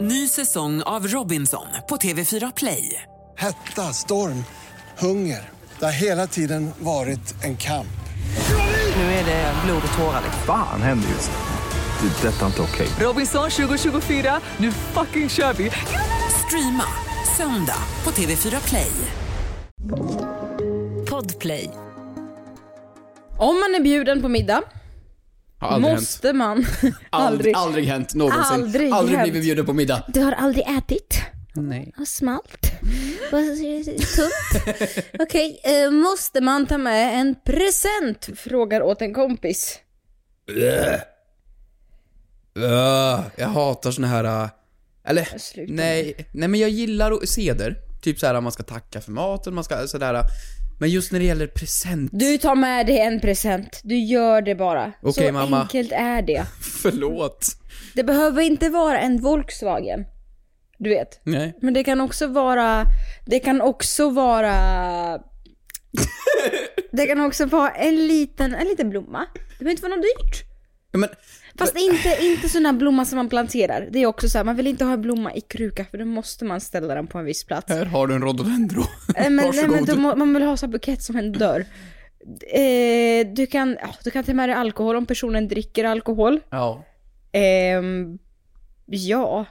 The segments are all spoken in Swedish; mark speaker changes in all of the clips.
Speaker 1: Ny säsong av Robinson på TV4 Play.
Speaker 2: Hetta, storm, hunger. Det har hela tiden varit en kamp.
Speaker 1: Nu är det blod och tårar.
Speaker 3: Fan händer just nu. Det. är Detta är inte okej.
Speaker 1: Robinson 2024, nu fucking kör vi! Streama söndag på TV4 Play. Podplay.
Speaker 4: Om man är bjuden på middag
Speaker 5: Har aldrig hänt.
Speaker 4: måste man
Speaker 5: Aldrig,
Speaker 4: aldrig.
Speaker 5: aldrig hänt
Speaker 4: Aldrig
Speaker 5: någonsin.
Speaker 4: hänt.
Speaker 5: blivit bjuden på middag.
Speaker 4: Du har aldrig ätit?
Speaker 5: Nej.
Speaker 4: Vad smalt? Vad tungt? Okej, eh, måste man ta med en present? Frågar åt en kompis.
Speaker 5: Öh, jag hatar såna här... äh, Eller,
Speaker 4: slutar
Speaker 5: nej, nej men jag gillar o- seder. Typ så här man ska tacka för maten, man ska sådär. äh, Men just när det gäller present.
Speaker 4: Du tar med dig en present. Du gör det bara.
Speaker 5: Okej,
Speaker 4: Så
Speaker 5: mamma.
Speaker 4: enkelt är det.
Speaker 5: Förlåt.
Speaker 4: Det behöver inte vara en Volkswagen. Du vet.
Speaker 5: Nej.
Speaker 4: Men det kan också vara, det kan också vara Det kan också vara en liten, en liten blomma. Det behöver inte vara något dyrt.
Speaker 5: Ja, Men,
Speaker 4: Fast inte, inte sån här blomma som man planterar. Det är också så här, man vill inte ha en blomma i kruka för då måste man ställa den på en viss plats.
Speaker 5: här har du en rhododendro.
Speaker 4: Eh, men, nej,
Speaker 5: Varsågod.
Speaker 4: men då må, man vill ha så här bukett som en dörr. Eh, du, kan, ja, du kan ta med dig alkohol om personen dricker alkohol.
Speaker 5: Ja.
Speaker 4: Ehm, ja.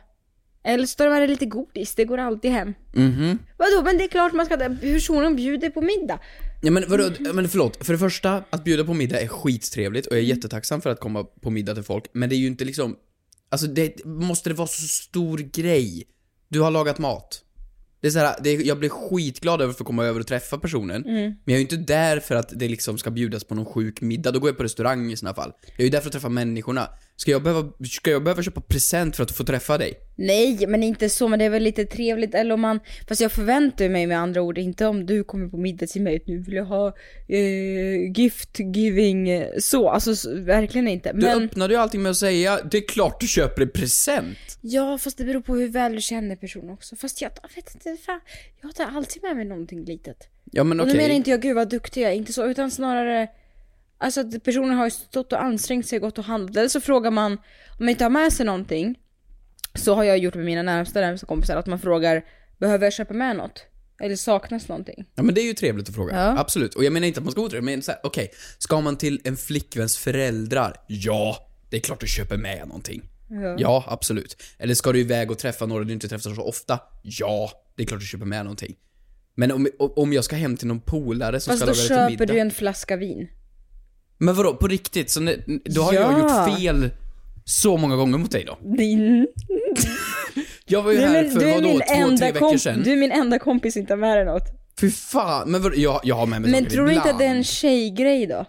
Speaker 4: Eller så tar du med dig lite godis, det går alltid hem.
Speaker 5: Mhm.
Speaker 4: Vadå, men det är klart man ska personen bjuder på middag.
Speaker 5: Ja men, vadå, Ja, men förlåt, för det första, att bjuda på middag är skittrevligt och jag är jättetacksam för att komma på middag till folk, men det är ju inte liksom, alltså det, måste det vara så stor grej? Du har lagat mat. Det är så här, det, är- jag blir skitglad över att få komma över och träffa personen, men jag är ju inte där för att det liksom ska bjudas på någon sjuk middag, då går jag på restaurang i sådana fall. Jag är ju där för att träffa människorna. Ska jag behöva, ska jag behöva köpa present för att få träffa dig?
Speaker 4: Nej, men inte så, men det är väl lite trevligt eller om man, fast jag förväntar mig med andra ord inte om du kommer på middag till mig, nu vill jag ha eh, gift giving eh, så, alltså så, verkligen inte.
Speaker 5: Du
Speaker 4: Men,
Speaker 5: öppnade ju allting med att säga, det är klart du köper en present!
Speaker 4: ja fast det beror på hur väl du känner personen också, fast jag jag vet inte, fan, jag tar alltid med mig någonting litet.
Speaker 5: Ja men
Speaker 4: Och
Speaker 5: okej.
Speaker 4: nu menar inte jag gud vad duktig jag är, inte så, utan snarare Alltså att personen har ju stått och ansträngt sig, gått och handlat. Eller så frågar man, om man inte har med sig någonting, så har jag gjort med mina närmsta, närmsta kompisar att man frågar, behöver jag köpa med något? Eller saknas någonting?
Speaker 5: Ja men det är ju trevligt att fråga.
Speaker 4: Ja.
Speaker 5: Absolut. Och jag menar inte att man ska vara otrevlig, men så här, okej. Ska man till en flickväns föräldrar? Ja, det är klart du köper med någonting. Ja. absolut. Eller ska du iväg och träffa några du inte träffar så ofta? Ja, det är klart du köper med någonting. Men om, om jag ska hem till någon polare som
Speaker 4: Fast då
Speaker 5: ska laga lite
Speaker 4: köper
Speaker 5: middag.
Speaker 4: du en flaska vin.
Speaker 5: Men vadå, på riktigt? Så ne- då har jag
Speaker 4: Ja.
Speaker 5: gjort fel så många gånger mot dig då?
Speaker 4: Din.
Speaker 5: Jag var ju
Speaker 4: Du är
Speaker 5: här
Speaker 4: min,
Speaker 5: för
Speaker 4: du är
Speaker 5: vadå,
Speaker 4: min
Speaker 5: två, tre
Speaker 4: enda
Speaker 5: veckor
Speaker 4: kompis,
Speaker 5: sedan?
Speaker 4: du är min enda kompis som inte har med dig något.
Speaker 5: Fy fan, men vadå, jag, jag har med mig
Speaker 4: Men
Speaker 5: saker
Speaker 4: tror du inte att det är
Speaker 5: ibland.
Speaker 4: en tjejgrej då?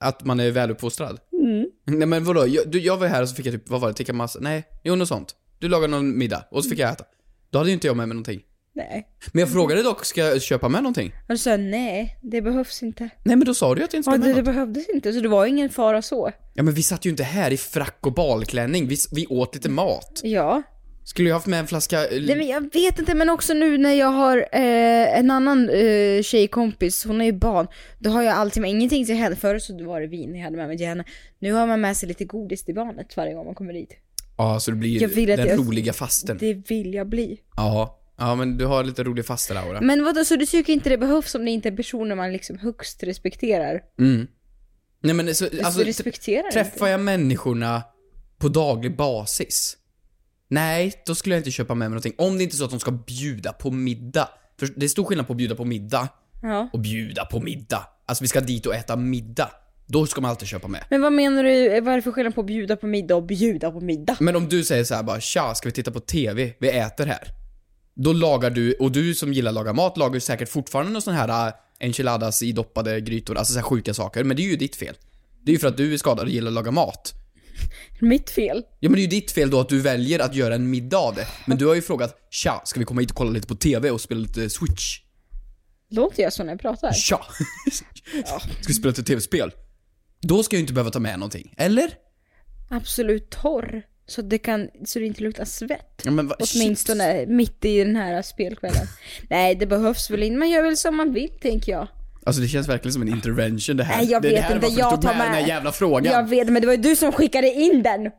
Speaker 5: Att man är väluppfostrad?
Speaker 4: Mm.
Speaker 5: Nej men vadå, jag, du, jag var här och så fick jag typ, vad var det, tikka massa? Nej, jo något sånt. Du lagade någon middag och så fick jag äta. Då hade ju inte jag med mig någonting.
Speaker 4: Nej.
Speaker 5: Men jag frågade dock, ska jag köpa med någonting?
Speaker 4: Och du sa nej, det behövs inte.
Speaker 5: Nej men då sa du ju att jag inte
Speaker 4: Ja,
Speaker 5: skulle
Speaker 4: det,
Speaker 5: med
Speaker 4: det
Speaker 5: något.
Speaker 4: behövdes inte, så det var ju ingen fara så.
Speaker 5: Ja men vi satt ju inte här i frack och balklänning, vi, s- vi åt lite mat.
Speaker 4: Ja.
Speaker 5: Skulle jag haft med en flaska... eh,
Speaker 4: Nej, men jag vet inte, men också nu när jag har eh, en annan eh, tjejkompis, hon är ju barn, då har jag alltid med ingenting till henne. Förut så var det vin jag hade med mig till henne. Nu har man med sig lite godis till barnet varje gång man kommer dit.
Speaker 5: Ja, så det blir
Speaker 4: Jag vill att
Speaker 5: den
Speaker 4: jag-
Speaker 5: roliga fasten.
Speaker 4: Det vill jag bli.
Speaker 5: Ja. Ja men du har lite rolig faster-aura.
Speaker 4: Men vadå, så du tycker inte det behövs om det inte är personer man liksom högst respekterar?
Speaker 5: Mm. Nej men så,
Speaker 4: Du
Speaker 5: alltså,
Speaker 4: respekterar
Speaker 5: Träffar
Speaker 4: inte.
Speaker 5: jag människorna på daglig basis? Nej, då skulle jag inte köpa med mig någonting. Om det inte är så att de ska bjuda på middag. För det är stor skillnad på att bjuda på middag
Speaker 4: Ja.
Speaker 5: och bjuda på middag. Alltså vi ska dit och äta middag. Då ska man alltid köpa med.
Speaker 4: Men vad menar du, eh, vad är det för skillnad på att bjuda på middag och bjuda på middag?
Speaker 5: Men om du säger så här bara tja, ska vi titta på TV? Vi äter här. Då lagar du, och du som gillar att laga mat lagar ju säkert fortfarande någon sån här äh, enchiladas i doppade grytor, alltså så här sjuka saker. Men det är ju ditt fel. Det är ju för att du är skadad och gillar att laga mat.
Speaker 4: Mitt fel.
Speaker 5: Ja men det är ju ditt fel då att du väljer att göra en middag av det. Men du har ju frågat Tja, ska vi komma hit och kolla lite på TV och spela lite Switch?
Speaker 4: Låter jag så när jag pratar?
Speaker 5: Tja! ska vi spela lite TV-spel? Då ska jag ju inte behöva ta med någonting, eller?
Speaker 4: Absolut torr. Så det, kan, så det inte luktar svett.
Speaker 5: Ja, men vad-
Speaker 4: Åtminstone mitt i den här spelkvällen. Nej, det behövs väl inte. Man gör väl som man vill, tänker jag.
Speaker 5: Alltså det känns verkligen som en intervention det här.
Speaker 4: Nej, jag
Speaker 5: det är
Speaker 4: vet
Speaker 5: det här
Speaker 4: inte.
Speaker 5: varför du
Speaker 4: Jag
Speaker 5: tog
Speaker 4: tar
Speaker 5: med den här
Speaker 4: med.
Speaker 5: jävla frågan.
Speaker 4: Jag vet, men det var ju du som skickade in den.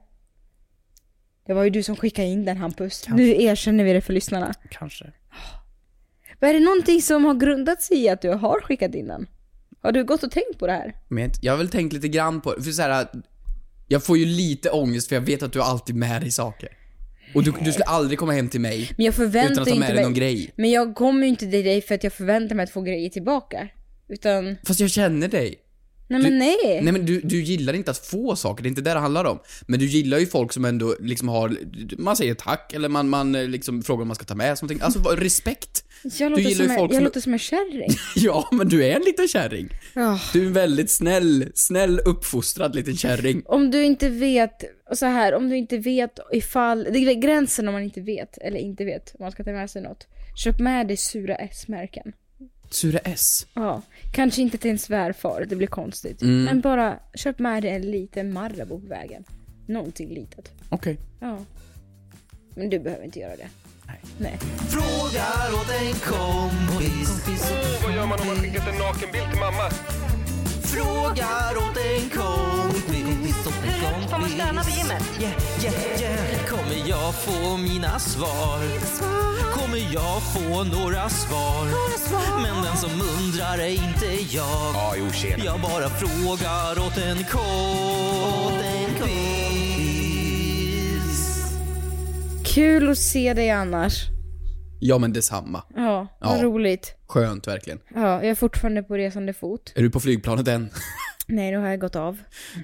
Speaker 4: Det var ju du som skickade in den Hampus. Nu erkänner vi det för lyssnarna.
Speaker 5: Kanske.
Speaker 4: Men är det någonting som har grundat sig i att du har skickat in den? Har du gått och tänkt på det här?
Speaker 5: Men jag, har inte- jag har väl tänkt lite grann på det, för så här, Jag får ju lite ångest för jag vet att du alltid har med dig saker. Och du, du skulle aldrig komma hem till mig
Speaker 4: Men jag förväntar
Speaker 5: utan att ta med
Speaker 4: inte
Speaker 5: dig någon grej.
Speaker 4: Men jag kommer ju inte till dig för att jag förväntar mig att få grejer tillbaka. Utan, nej
Speaker 5: Fast jag känner dig.
Speaker 4: men
Speaker 5: Du-
Speaker 4: nej.
Speaker 5: Nej men du, du gillar inte att få saker, det är inte det det handlar om. Men du gillar ju folk som ändå liksom har, man säger tack eller man, man eh, liksom frågar om man ska ta med sig någonting. Alltså vad- respekt.
Speaker 4: jag låter,
Speaker 5: gillar ju
Speaker 4: som, en,
Speaker 5: folk
Speaker 4: jag
Speaker 5: som-
Speaker 4: låter som en kärring.
Speaker 5: Ja, men du är en liten kärring.
Speaker 4: Ja.
Speaker 5: Du är en väldigt snäll, snäll uppfostrad liten kärring.
Speaker 4: Om du inte vet, och så här, om du inte vet ifall, det är gränsen om man inte vet, eller inte vet, om man ska ta med sig något. Köp med dig sura S-märken.
Speaker 5: Sura S.
Speaker 4: Ja, kanske inte till en svärfar, det blir konstigt.
Speaker 5: Mm.
Speaker 4: Men bara köp med dig en liten Marabou på vägen. Någonting litet.
Speaker 5: Okej.
Speaker 4: Ja. Men du behöver inte göra det.
Speaker 5: Nej.
Speaker 4: Nej.
Speaker 6: Frågar åt en kompis.
Speaker 7: Vad gör man om man skickat en nakenbild till mamma?
Speaker 6: Frågar åt en kompis. Hur
Speaker 8: högt får man stöna på gymmet?
Speaker 6: Yeah, yeah, yeah. Kommer jag få mina svar? Kommer jag få några svar? Men den som undrar är inte jag.
Speaker 7: Ja, jo tjena.
Speaker 6: Jag bara frågar åt en kompis.
Speaker 4: Kul att se dig annars.
Speaker 5: Ja men detsamma.
Speaker 4: Ja, vad
Speaker 5: Ja.
Speaker 4: roligt.
Speaker 5: Skönt verkligen.
Speaker 4: Ja, jag är fortfarande på resande fot.
Speaker 5: Är du på flygplanet än?
Speaker 4: Nej, nu har jag gått av.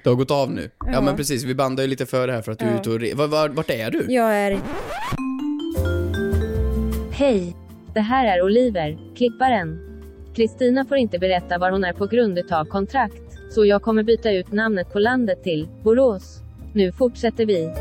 Speaker 5: Det har gått av nu. Ja,
Speaker 4: Ja.
Speaker 5: men precis, vi bandar ju lite för det här för att du är ute och re- var, var, Vart är du?
Speaker 4: Jag är...
Speaker 9: Hej! Det här är Oliver, klipparen. Kristina får inte berätta var hon är på grund utav kontrakt, så jag kommer byta ut namnet på landet till Borås. Nu fortsätter vi.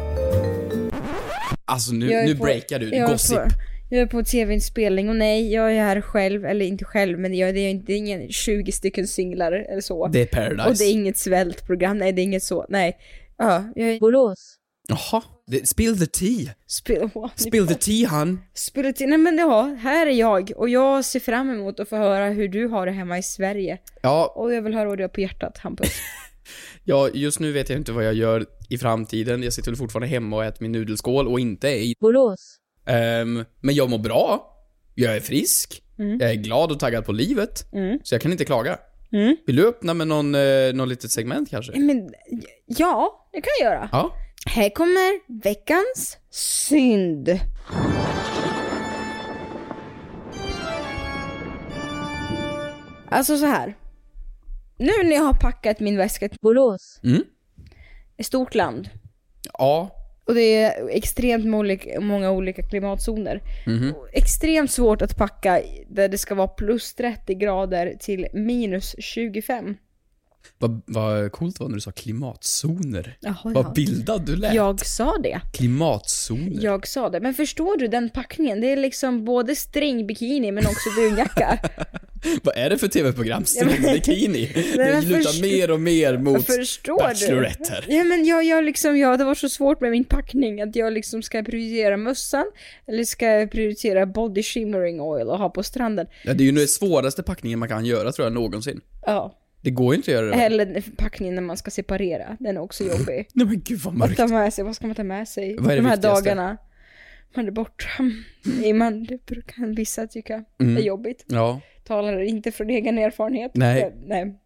Speaker 5: Alltså nu,
Speaker 4: Jag är
Speaker 5: nu
Speaker 4: på-
Speaker 5: breakar du.
Speaker 4: Jag är
Speaker 5: Gossip.
Speaker 4: på, jag är på tv-inspelning och nej, jag är här själv, eller inte själv, men jag, det är inte det är ingen 20 stycken singlar eller så.
Speaker 5: Det är Paradise.
Speaker 4: Och det är inget svältprogram, nej det är inget så, nej. Ja, jag är...
Speaker 9: Borås.
Speaker 5: Jaha. Det, spill the tea.
Speaker 4: Spill,
Speaker 5: Spill the tea han.
Speaker 4: Spill it- nej men ja, här är jag och jag ser fram emot att få höra hur du har det hemma i Sverige.
Speaker 5: Ja,
Speaker 4: Och jag vill höra vad du har på hjärtat, Hampus.
Speaker 5: ja, just nu vet jag inte vad jag gör i framtiden. Jag sitter väl fortfarande hemma och äter min nudelskål och inte är i
Speaker 9: Borås.
Speaker 5: Ehm, men jag mår bra. Jag är frisk.
Speaker 4: Mm.
Speaker 5: Jag är glad och taggad på livet. Så jag kan inte klaga.
Speaker 4: Mm.
Speaker 5: Vill du öppna med någon, eh, någon litet segment kanske?
Speaker 4: men ja, det kan jag göra.
Speaker 5: Ja.
Speaker 4: Här kommer veckans synd. Alltså så här. Nu när jag har packat min väska till
Speaker 9: Borås.
Speaker 4: ett stort land
Speaker 5: Ja.
Speaker 4: och det är extremt molik- många olika klimatzoner. Och Extremt svårt att packa där det ska vara plus 30 grader till minus 25.
Speaker 5: Vad, vad coolt var när du sa klimatzoner.
Speaker 4: Jaha,
Speaker 5: vad
Speaker 4: ja.
Speaker 5: bildad du lät.
Speaker 4: Jag sa det.
Speaker 5: Klimatzoner.
Speaker 4: Jag sa det. Men förstår du den packningen? Det är liksom både string bikini men också dunjacka.
Speaker 5: Vad är det för tv-program? String bikini. Det
Speaker 4: men
Speaker 5: lutar
Speaker 4: först-
Speaker 5: mer och mer mot
Speaker 4: Förstår du?
Speaker 5: Bachelorette här.
Speaker 4: Ja men jag, jag liksom, jag, det var så svårt med min packning att jag liksom ska prioritera mössan eller ska jag prioritera body shimmering oil och ha på stranden.
Speaker 5: Ja, det är ju den svåraste packningen man kan göra tror jag någonsin.
Speaker 4: Ja.
Speaker 5: Det går ju inte att göra det.
Speaker 4: Eller packningen när man ska separera, den är också jobbig.
Speaker 5: Nej men gud vad
Speaker 4: Att
Speaker 5: mörkt.
Speaker 4: ta med sig, vad ska man ta med sig?
Speaker 5: Vad är det
Speaker 4: De här
Speaker 5: viktigaste?
Speaker 4: dagarna. Man är borta. Nej, man, det brukar vissa tycka
Speaker 5: Mm.
Speaker 4: är jobbigt.
Speaker 5: Ja.
Speaker 4: Talar inte från egen erfarenhet.
Speaker 5: Nej.
Speaker 4: Eh, Nej.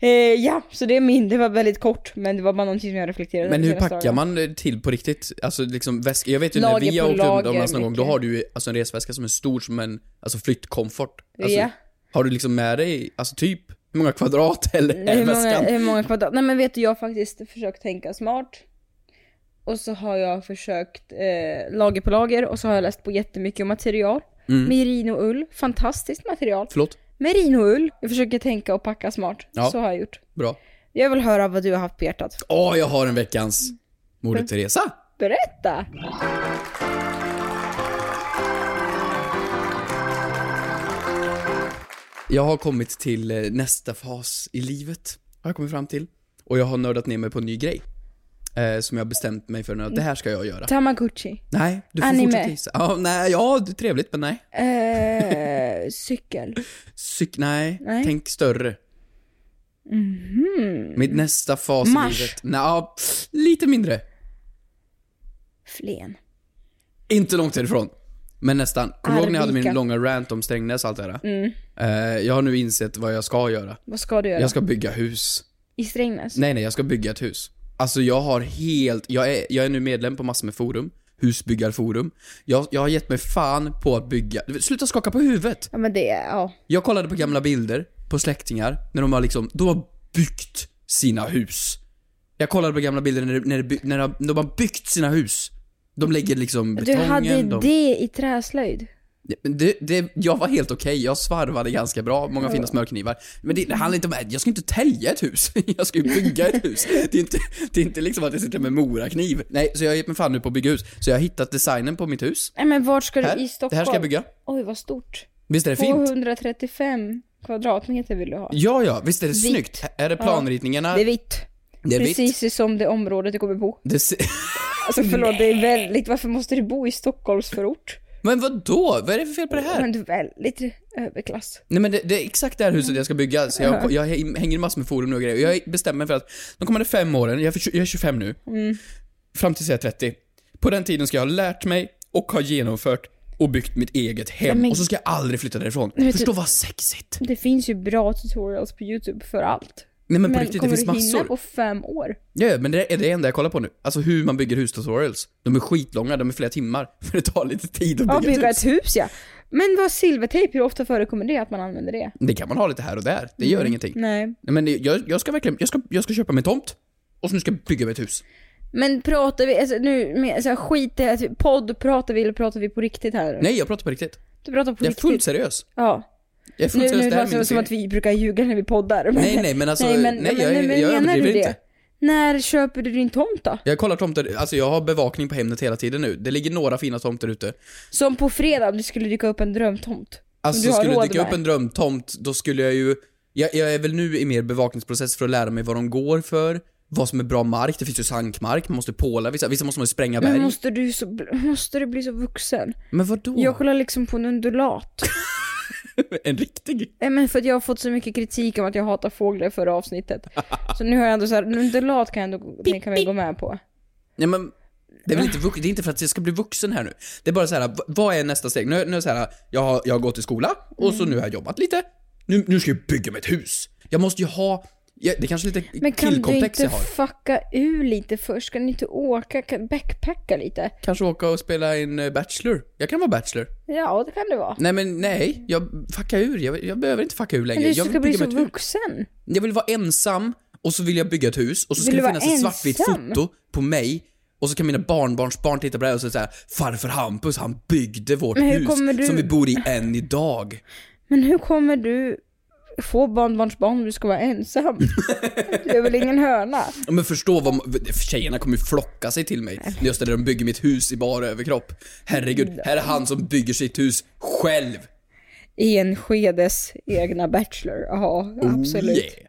Speaker 4: Eh, ja, så det är min. Det var väldigt kort, men det var bara någonting som jag reflekterade
Speaker 5: Men
Speaker 4: över
Speaker 5: hur
Speaker 4: senaste
Speaker 5: packar
Speaker 4: dagarna.
Speaker 5: man till på riktigt? Alltså liksom väska. Jag vet ju
Speaker 4: Lager
Speaker 5: när vi
Speaker 4: på
Speaker 5: har åkt
Speaker 4: lager,
Speaker 5: utomlands någon gång, då
Speaker 4: mycket.
Speaker 5: har du ju alltså en resväska som är stor som en alltså flyttkomfort. Alltså,
Speaker 4: Ja.
Speaker 5: Har du liksom med dig, alltså typ, hur många kvadrat eller är
Speaker 4: Hur många,
Speaker 5: väskan?
Speaker 4: hur många kvadrat? Nej men vet du, jag har faktiskt försökt tänka smart. Och så har jag försökt eh, lager på lager och så har jag läst på jättemycket om material.
Speaker 5: Mm.
Speaker 4: Merinoull, fantastiskt material.
Speaker 5: Förlåt?
Speaker 4: Merinoull. Jag försöker tänka och packa smart.
Speaker 5: Ja.
Speaker 4: Så har jag gjort.
Speaker 5: Bra.
Speaker 4: Jag vill höra vad du har haft på hjärtat.
Speaker 5: Åh, jag har en veckans Moder Teresa.
Speaker 4: Berätta!
Speaker 5: Jag har kommit till eh, nästa fas i livet, har jag kommit fram till. Och jag har nördat ner mig på en ny grej. Eh, som jag har bestämt mig för nu, att det här ska jag
Speaker 4: Mm.
Speaker 5: göra.
Speaker 4: Tamagotchi.
Speaker 5: Nej, du får
Speaker 4: Anime.
Speaker 5: fortsätta gissa. Ja, nej, ja, det är trevligt, men nej.
Speaker 4: Eh, cykel.
Speaker 5: Cyk, nej.
Speaker 4: Nej. Mhm.
Speaker 5: tänk större. Mitt nästa fas
Speaker 4: Mars.
Speaker 5: i livet. Nja, pff, lite mindre.
Speaker 4: Flen.
Speaker 5: Inte långt härifrån. Men nästan. Kommer du ihåg när jag hade min
Speaker 4: Arvika.
Speaker 5: långa rant om Strängnäs och allt det där?
Speaker 4: Mm.
Speaker 5: Eh, jag har nu insett vad jag ska göra.
Speaker 4: Vad ska du göra?
Speaker 5: Jag ska bygga hus.
Speaker 4: I Strängnäs?
Speaker 5: Nej, nej, jag ska bygga ett hus. Alltså jag har helt, jag är, jag är nu medlem på massor med forum. Husbyggarforum. Jag, jag har gett mig fan på att bygga. Sluta skaka på huvudet!
Speaker 4: Ja men det, är- ja.
Speaker 5: Jag kollade på gamla bilder på släktingar när de har liksom, de har byggt sina hus. Jag kollade på gamla bilder när, det- när, det by, när de- de har byggt sina hus. De lägger liksom
Speaker 4: Du
Speaker 5: betongen.
Speaker 4: hade
Speaker 5: de...
Speaker 4: det i träslöjd?
Speaker 5: Men Det, det, jag var helt okej, jag svarvade ganska bra, många fina smörknivar. Men det, det handlar inte om, jag ska inte tälja ett hus, jag ska ju bygga ett hus. Det är inte, det är inte liksom att jag sitter med morakniv. Nej, så jag har gett mig fan nu på att bygga hus. Så jag har hittat designen på mitt hus.
Speaker 4: Nej men vart ska du?
Speaker 5: Här,
Speaker 4: I Stockholm?
Speaker 5: det här ska jag bygga.
Speaker 4: Oj vad stort.
Speaker 5: Visst är det fint?
Speaker 4: 235 kvadratmeter vill du ha.
Speaker 5: Ja, ja, visst är det
Speaker 4: Vitt.
Speaker 5: snyggt? Är det planritningarna?
Speaker 4: Det är vitt.
Speaker 5: Det är vitt.
Speaker 4: Precis som det området du kommer bo.
Speaker 5: Det ser-
Speaker 4: Alltså förlåt, det är väldigt, varför måste du bo i Stockholmsförort?
Speaker 5: Men vad då? Vad är det för fel på det här?
Speaker 4: Men du är väldigt överklass.
Speaker 5: Nej men det, det är exakt det här huset jag ska bygga, så jag, jag hänger i massor med forum nu och grejer. Och Jag bestämmer mig för att de kommande fem åren, jag är, för, tju- jag är 25 nu,
Speaker 4: Mm.
Speaker 5: fram tills jag är 30. På den tiden ska jag ha lärt mig och ha genomfört och byggt mitt eget hem.
Speaker 4: men- typ-
Speaker 5: Och så ska jag aldrig flytta därifrån.
Speaker 4: vet du-
Speaker 5: Förstå vad sexigt!
Speaker 4: Det finns ju bra tutorials på youtube för allt.
Speaker 5: Nej men på riktigt, det
Speaker 4: kommer
Speaker 5: finns
Speaker 4: du hinna
Speaker 5: massor.
Speaker 4: på fem år?
Speaker 5: Ja, ja, men det är det enda jag kollar på nu. Alltså hur man bygger hus-tutorials. De är skitlånga, de är flera timmar. För det tar lite tid att
Speaker 4: Ja,
Speaker 5: bygga,
Speaker 4: bygga
Speaker 5: ett hus.
Speaker 4: ett hus ja. Men vad silvertejp, hur ofta förekommer det att man använder det?
Speaker 5: Det kan man ha lite här och där, det gör ingenting.
Speaker 4: typ- Mm. Nej.
Speaker 5: Nej, men det- jag, jag ska verkligen, jag ska, jag ska köpa mig tomt. Och så nu ska jag bygga mig ett hus.
Speaker 4: Men pratar vi, alltså, nu med så här, skit i det här, typ, podd, pratar vi eller pratar vi på riktigt här?
Speaker 5: Nej, jag pratar på riktigt.
Speaker 4: Du pratar på
Speaker 5: Jag är
Speaker 4: riktigt.
Speaker 5: fullt seriös.
Speaker 4: Ja.
Speaker 5: Jag är fullt
Speaker 4: Nu,
Speaker 5: seriös.
Speaker 4: nu
Speaker 5: det här
Speaker 4: låter
Speaker 5: är
Speaker 4: det
Speaker 5: min
Speaker 4: som
Speaker 5: serie.
Speaker 4: att vi brukar ljuga när vi poddar. men-
Speaker 5: Nej, nej, men alltså, nej, jag-
Speaker 4: men
Speaker 5: jag
Speaker 4: menar du
Speaker 5: överdriver
Speaker 4: det?
Speaker 5: inte.
Speaker 4: När köper du din tomt då?
Speaker 5: Jag kollar tomter, alltså jag har bevakning på Hemnet hela tiden nu. Det ligger några fina tomter ute.
Speaker 4: Som på fredag om det skulle dyka upp en drömtomt.
Speaker 5: Alltså
Speaker 4: du har
Speaker 5: skulle det
Speaker 4: råd
Speaker 5: dyka
Speaker 4: med.
Speaker 5: upp en drömtomt, då skulle jag ju... Jag, jag är väl nu i mer bevakningsprocess för att lära mig vad de går för, vad som är bra mark, det finns ju sankmark, man måste påla vissa, vissa måste man ju spränga berg.
Speaker 4: Men
Speaker 5: Men,
Speaker 4: måste du, så, måste du bli så vuxen?
Speaker 5: vadå?
Speaker 4: Jag kollar liksom på en undulat.
Speaker 5: En riktig?
Speaker 4: Nej, men för att jag har fått så mycket kritik om att jag hatar fåglar i förra avsnittet. Så nu har jag ändå så här, en undulat kan jag ändå tänka mig gå med på.
Speaker 5: Nej men, det är väl inte, vux- det är inte för att jag ska bli vuxen här nu. Det är bara så här, v- vad är nästa steg? Nu, nu är det så här, jag har, jag har gått i skola och
Speaker 4: Mm.
Speaker 5: så nu har jag jobbat lite. Nu, nu ska jag bygga mig ett hus. Jag måste ju ha, jag, det är kanske är lite
Speaker 4: Men kan du
Speaker 5: killkomplex
Speaker 4: inte
Speaker 5: jag har.
Speaker 4: fucka ur lite först? Kan du inte åka, kan backpacka lite?
Speaker 5: Kanske åka och spela in eh, Bachelor. Jag kan vara Bachelor.
Speaker 4: Ja, det kan det vara.
Speaker 5: Nej men nej, jag fuckar ur. Jag, jag behöver inte fucka ur längre.
Speaker 4: Men du
Speaker 5: jag,
Speaker 4: ska bli
Speaker 5: vill bygga
Speaker 4: så
Speaker 5: mig ett hus.
Speaker 4: vuxen.
Speaker 5: jag vill vara ensam och så vill jag bygga ett hus och så ska
Speaker 4: Vill
Speaker 5: det
Speaker 4: du
Speaker 5: finnas
Speaker 4: vara
Speaker 5: ett svartvitt
Speaker 4: ensam?
Speaker 5: foto på mig och så kan mina barnbarnsbarn titta på det här och så säga farfar Hampus han byggde vårt
Speaker 4: Men hur kommer
Speaker 5: hus
Speaker 4: du-
Speaker 5: som vi bor i än idag.
Speaker 4: Men hur kommer du få barnbarnsbarn om du ska vara ensam? Du är väl ingen höna?
Speaker 5: Ja, Men förstå vad tjejerna kommer ju flocka sig till mig när jag ställer och bygger mitt hus i bara överkropp.
Speaker 4: Mm.
Speaker 5: Herregud, här är han som bygger sitt hus själv.
Speaker 4: I en skedes egna bachelor, ja absolut.
Speaker 5: Oh,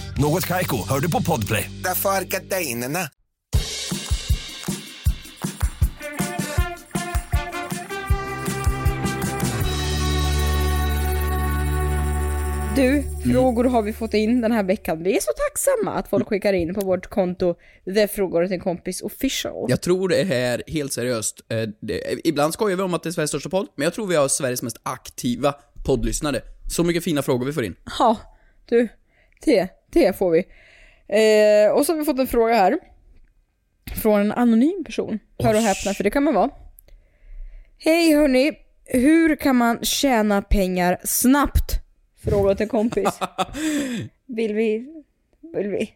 Speaker 10: Något Kaiko, hör du på Podplay.
Speaker 11: Därför är gardinerna.
Speaker 5: Mm.
Speaker 4: Du, frågor har vi fått in den här veckan. Vi är så tacksamma att folk skickar in på vårt konto The frågor till en kompis official.
Speaker 5: Jag tror det här, helt seriöst, eh, det, ibland skojar vi om att det är Sveriges största podd, men jag tror vi har Sveriges mest aktiva poddlyssnare. Så mycket fina frågor vi får in.
Speaker 4: Ja, du. Det, det får vi. Eh, och så har vi fått en fråga här. Från en anonym person. Hör och häpna, för det kan man vara. Hej hörni, hur kan man tjäna pengar snabbt? Fråga till en kompis. Vill vi, vill vi,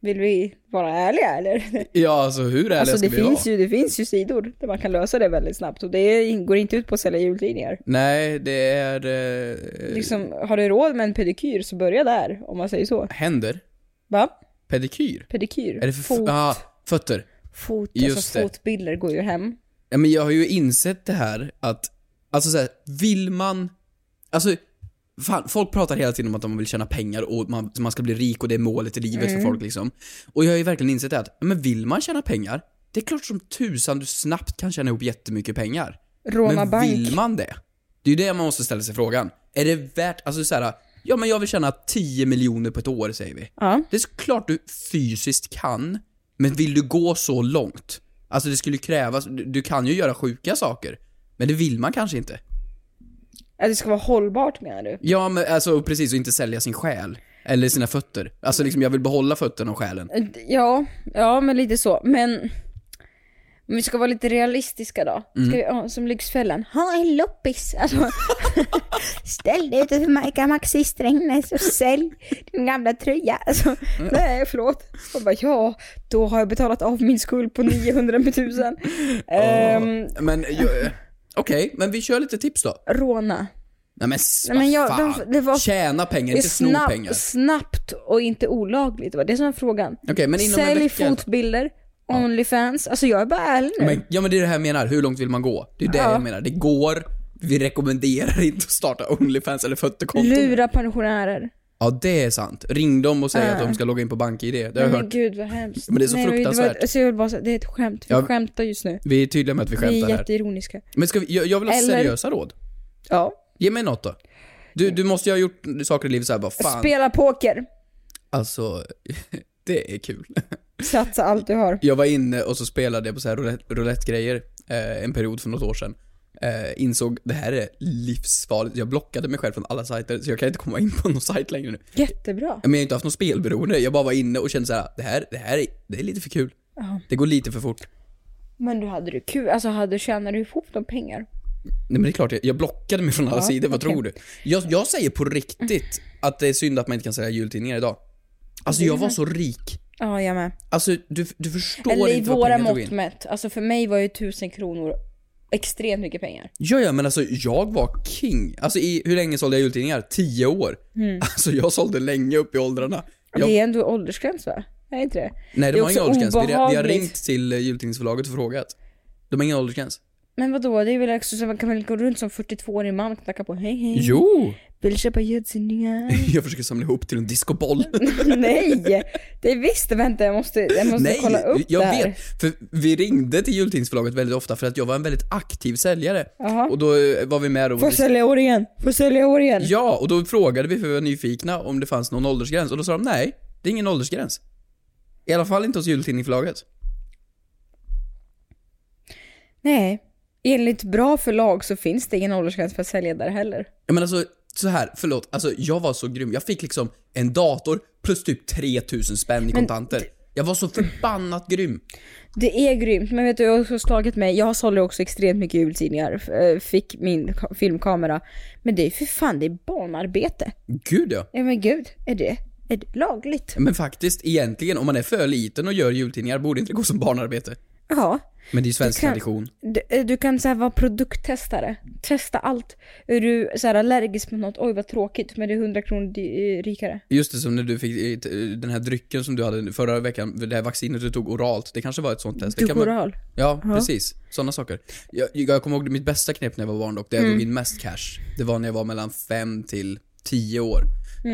Speaker 4: vill vi vara ärliga eller?
Speaker 5: Ja, alltså hur ärliga
Speaker 4: Alltså
Speaker 5: ska
Speaker 4: det
Speaker 5: vi
Speaker 4: finns, ju,
Speaker 5: vara?
Speaker 4: det finns ju sidor där man kan lösa det väldigt snabbt och det går inte ut på att sälja jultidningar.
Speaker 5: Nej, det är... Eh,
Speaker 4: Liksom, har du råd med en pedikyr så börja där, om man säger så.
Speaker 5: Händer?
Speaker 4: Va?
Speaker 5: Pedikyr?
Speaker 4: Pedikyr?
Speaker 5: Är det för...
Speaker 4: Fot.
Speaker 5: Ah, fötter.
Speaker 4: Fot,
Speaker 5: Just
Speaker 4: alltså
Speaker 5: det.
Speaker 4: fotbilder går ju hem.
Speaker 5: Ja, men jag har ju insett det här att, alltså såhär, vill man, alltså, fan, folk pratar hela tiden om att de vill tjäna pengar och man, man ska bli rik och det är målet i livet
Speaker 4: Mm.
Speaker 5: för folk liksom. Och jag har ju verkligen insett det att, ja, men vill man tjäna pengar, det är klart som tusan du snabbt kan tjäna ihop jättemycket pengar.
Speaker 4: Råna
Speaker 5: men
Speaker 4: bank.
Speaker 5: vill man det? Det är ju det man måste ställa sig frågan. Är det värt, alltså såhär, ja men jag vill tjäna 10 miljoner på ett år säger vi.
Speaker 4: Ja.
Speaker 5: Det är såklart du fysiskt kan, men vill du gå så långt? Alltså det skulle krävas, du, du kan ju göra sjuka saker, men det vill man kanske inte.
Speaker 4: Att det ska vara hållbart menar du?
Speaker 5: Ja men alltså precis, och inte sälja sin själ. Eller sina fötter. Alltså liksom, jag vill behålla fötterna och själen.
Speaker 4: Eh, Ja, ja men lite så. Men men vi ska vara lite realistiska då. Ska vi, ja, som Lyxfällan. Ha en loppis. Alltså, ställ dig utanför Majka Maxi Strängnäs och sälj din gamla tröja. Alltså, nej förlåt. Och bara, ja, då har jag betalat av min skuld på 900 med 1000. Ehm,
Speaker 5: Men, ju- eh, okej, men vi kör lite tips då.
Speaker 4: råna.
Speaker 5: Nej men, s-
Speaker 4: Nej, men jag-
Speaker 5: vad fan.
Speaker 4: de- det var-
Speaker 5: Tjäna pengar, inte sno
Speaker 4: snabb-
Speaker 5: pengar.
Speaker 4: snabbt och inte olagligt. Det var det som var frågan.
Speaker 5: Okej, men inom en
Speaker 4: Sälj
Speaker 5: vecka-
Speaker 4: fotbilder, Onlyfans. Alltså jag är bara ärlig nu.
Speaker 5: Men, ja men det är det här jag menar, hur långt vill man gå? Det är det
Speaker 4: Ja.
Speaker 5: jag menar, det går. Vi rekommenderar inte att starta Onlyfans eller fötterkonton.
Speaker 4: Lura pensionärer.
Speaker 5: Ja, det är sant. Ring dem och säg att de ska logga in på BankID. Det har jag
Speaker 4: Men
Speaker 5: hört.
Speaker 4: gud vad hemskt.
Speaker 5: Men det är så
Speaker 4: Det,
Speaker 5: fruktansvärt.
Speaker 4: var, alltså jag vill bara säga, det är ett skämt. Vi
Speaker 5: Ja.
Speaker 4: skämtar just nu.
Speaker 5: Vi är tydliga med att vi
Speaker 4: Vi är
Speaker 5: skämtar här.
Speaker 4: jätteironiska.
Speaker 5: Men ska vi, jag, jag vill ha
Speaker 4: Eller-
Speaker 5: seriösa råd.
Speaker 4: Ja.
Speaker 5: Ge mig något då. Du, du måste ju ha gjort saker i livet såhär bara, fan.
Speaker 4: Spela poker.
Speaker 5: Alltså, det är kul.
Speaker 4: Satsa allt du har.
Speaker 5: Jag var inne och så spelade jag på så här roulette- roulette-grejer eh, en period för något år sedan. Eh, insåg det här är livsfarligt. Jag blockade mig själv från alla sajter så jag kan inte komma in på någon sajt längre nu.
Speaker 4: Jättebra.
Speaker 5: Men jag har inte haft något spelberoende. Jag bara var inne och kände så här, det här, det här är, det är lite för kul. Det går lite för fort.
Speaker 4: Men du hade du kul. Alltså hade, tjänade du ihop de pengar?
Speaker 5: Nej men det är klart, jag- jag blockade mig från alla
Speaker 4: Ja,
Speaker 5: sidor, vad
Speaker 4: okej.
Speaker 5: tror du? Jag, jag säger på riktigt att det är synd att man inte kan sälja jultidningar idag. Alltså jag var så rik.
Speaker 4: Ja, jag med.
Speaker 5: Alltså du, du förstår
Speaker 4: Eller i
Speaker 5: inte vad
Speaker 4: våra
Speaker 5: pengar tog
Speaker 4: mått
Speaker 5: in.
Speaker 4: mätt. Alltså för mig var ju tusen kronor extremt mycket pengar.
Speaker 5: Ja, ja men alltså jag var king. Alltså i, hur länge sålde jag jultidningar? Tio år. Alltså jag sålde länge upp i åldrarna. Jag,
Speaker 4: Mm. Det är ändå åldersgräns va? Nej inte det?
Speaker 5: nej de
Speaker 4: är
Speaker 5: har ingen
Speaker 4: också
Speaker 5: åldersgräns. Vi, vi har
Speaker 4: obehagligt.
Speaker 5: ringt till eh, jultidningsförlaget och frågat. De har ingen åldersgräns.
Speaker 4: Men vadå, det är väl också så man kan väl gå runt som 42-årig man och knacka på hej hej.
Speaker 5: Jo!
Speaker 4: Vill du köpa ljudsändningar?
Speaker 5: Jag försöker samla ihop till en discoboll.
Speaker 4: Nej! Det är visst, vänta jag måste, jag måste
Speaker 5: Nej,
Speaker 4: kolla upp
Speaker 5: jag
Speaker 4: det här.
Speaker 5: vet. För vi ringde till jultidningsförlaget väldigt ofta för att jag var en väldigt aktiv säljare.
Speaker 4: Jaha.
Speaker 5: Och då eh, var vi med och...
Speaker 4: Får sälja år igen, får sälja år igen.
Speaker 5: Ja, och då frågade vi för vi var nyfikna om det fanns någon åldersgräns och då sa de nej, det är ingen åldersgräns. I alla fall inte hos jultidningsförlaget.
Speaker 4: Nej. Enligt bra förlag så finns det ingen åldersgräns för att sälja där heller.
Speaker 5: Ja men alltså, så här, förlåt, alltså jag var så grym. Jag fick liksom en dator plus typ 3000 spänn i kontanter. Jag var så förbannat grym.
Speaker 4: Det är grymt, men vet du, jag har också slagit mig. Jag sålde också extremt mycket jultidningar, f- eh, fick min ka- filmkamera. Men det är ju för fan, det är barnarbete.
Speaker 5: Gud ja.
Speaker 4: Ja men gud, är det, är det lagligt?
Speaker 5: Men faktiskt, egentligen, om man är för liten och gör jultidningar borde inte det gå som barnarbete.
Speaker 4: Ja.
Speaker 5: Men det är ju
Speaker 4: Du
Speaker 5: svensk
Speaker 4: kan-
Speaker 5: tradition.
Speaker 4: Du, eh, du kan så här vara produkttestare. Testa allt. Är du så här allergisk mot något, oj vad tråkigt, men det är 100 kronor di- eh, rikare.
Speaker 5: Just det, som när du fick eh, t- den här drycken som du hade förra veckan, det här vaccinet du tog oralt. Det kanske var ett sånt test. Det kan man-
Speaker 4: Dukoral.
Speaker 5: Ja, precis. Sådana saker. Jag, jag kommer ihåg mitt bästa knep när jag var barn dock, det jag drog in mest cash. Det var när jag var mellan 5 till 10 år.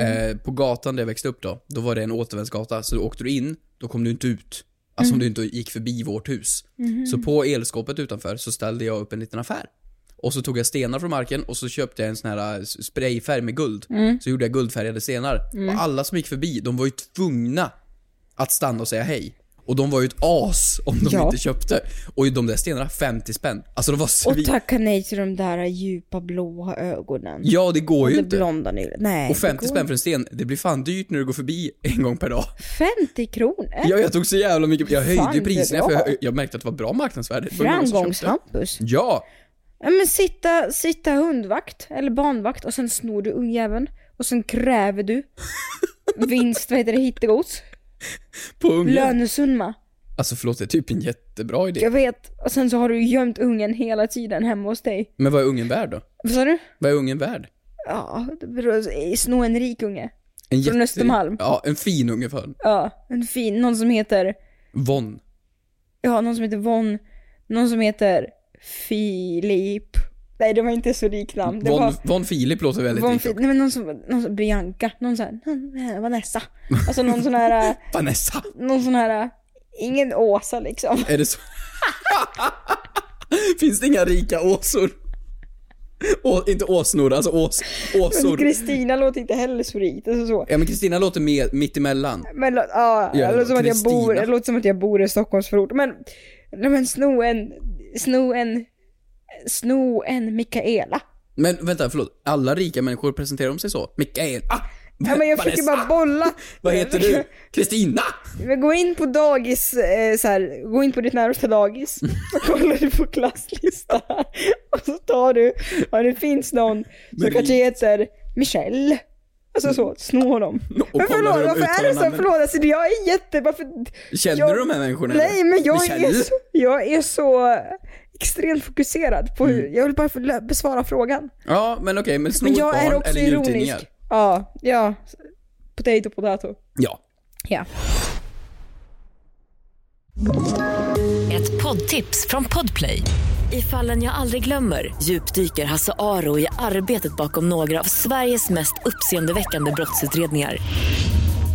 Speaker 5: Eh, på gatan där jag växte upp då, då var det en återvändsgata. Så åkte du in, då kom du inte ut. Alltså om du inte gick förbi vårt hus. Så på elskåpet utanför så ställde jag upp en liten affär. Och så tog jag stenar från marken och så köpte jag en sån här eh, s- sprayfärg med guld.
Speaker 4: Mm.
Speaker 5: Så gjorde jag guldfärgade stenar. Och alla som gick förbi, de var ju tvungna att stanna och säga hej. Och de var ju ett as om de
Speaker 4: Ja.
Speaker 5: inte köpte. Och de där stenarna, 50 spänn. Alltså de var
Speaker 4: Och
Speaker 5: svin...
Speaker 4: tacka nej till de där djupa blåa ögonen.
Speaker 5: Ja, det går ju
Speaker 4: det
Speaker 5: inte.
Speaker 4: blonda nylet. Nej.
Speaker 5: Och 50
Speaker 4: det går
Speaker 5: spänn för en sten, det blir fan dyrt när du går förbi en gång per dag.
Speaker 4: inte. 50 kronor?
Speaker 5: Ja, jag tog så jävla mycket, jag höjde
Speaker 4: Äh? Fan,
Speaker 5: ju
Speaker 4: det
Speaker 5: priserna för
Speaker 4: var-
Speaker 5: jag, jag märkte att det var bra marknadsvärde. Det var många som köpte.
Speaker 4: Framgångshampus.
Speaker 5: Ja!
Speaker 4: Ja men sitta, sitta hundvakt, eller barnvakt, och sen snor du ungjäveln. Och sen kräver du vinst, vad heter det, hittegods?
Speaker 5: På ungen.
Speaker 4: Lönesumma.
Speaker 5: Alltså förlåt, det är typ en jättebra idé.
Speaker 4: Jag vet. Och sen så har du gömt ungen hela tiden hemma hos dig.
Speaker 5: Men vad är ungen värd då?
Speaker 4: Vad sa du?
Speaker 5: Vad är ungen värd?
Speaker 4: Ja, det beror- sno en rik unge.
Speaker 5: En
Speaker 4: Från Östermalm.
Speaker 5: Ja, en fin unge för en.
Speaker 4: Ja, en fin, någon som heter,
Speaker 5: Von.
Speaker 4: ja någon som heter Von, någon som heter Filip. Nej det var inte så rikt namn. Det
Speaker 5: Von,
Speaker 4: var
Speaker 5: Von Filip låter väldigt
Speaker 4: Von
Speaker 5: lik.
Speaker 4: Fi- Nej men någon som, någon som Bianca, någon sån här, "Mm, Vanessa. Alltså någon sån här, äh,
Speaker 5: Vanessa!
Speaker 4: någon sån här, äh, ingen Åsa liksom.
Speaker 5: Är det så? Finns det inga rika åsor? Å, inte åsnor, alltså ås,
Speaker 4: Men
Speaker 5: åsor.
Speaker 4: Kristina låter inte heller så rikt, alltså så.
Speaker 5: Ja men Kristina låter med, mitt emellan.
Speaker 4: Men lå- ja,
Speaker 5: Ja,
Speaker 4: det låter som att jag
Speaker 5: Kristina.
Speaker 4: bor, det låter som att jag bor i Stockholmsförort. Men, nej men sno en, sno en, sno en Mikaela.
Speaker 5: Men vänta, förlåt. Alla rika människor presenterar de sig så? Mikael! Ah,
Speaker 4: Ja, men jag försöker bara bolla.
Speaker 5: Vad heter du? Kristina!
Speaker 4: Men gå in på dagis, eh, så här, gå in på ditt närmsta dagis och kollar du på klasslistan. Och så tar du, ja det finns någon som
Speaker 5: det-
Speaker 4: kanske heter Michelle. Alltså så, snå honom.
Speaker 5: Mm. och
Speaker 4: men
Speaker 5: kolla hur
Speaker 4: förlåt,
Speaker 5: de
Speaker 4: varför är
Speaker 5: uttalar
Speaker 4: det så?
Speaker 5: namnen.
Speaker 4: Förlåt, alltså det- jag är jätte, varför?
Speaker 5: Känner
Speaker 4: jag,
Speaker 5: du de här människorna?
Speaker 4: Nej,
Speaker 5: eller?
Speaker 4: men jag är,
Speaker 5: Michelle?
Speaker 4: så, jag är så extremt fokuserad på hur,
Speaker 5: Mm.
Speaker 4: jag vill bara få lö- besvara frågan.
Speaker 5: Ja, men okej, men snor
Speaker 4: Men jag
Speaker 5: barn
Speaker 4: är också
Speaker 5: eller
Speaker 4: ironisk.
Speaker 5: jultidningar?
Speaker 4: Ja, ja. Potato, potato.
Speaker 5: Ja.
Speaker 4: Ja.
Speaker 8: Ett poddtips från Podplay. I fallen jag aldrig glömmer djupdyker Hasse Aro i arbetet bakom några av Sveriges mest uppseendeväckande brottsutredningar.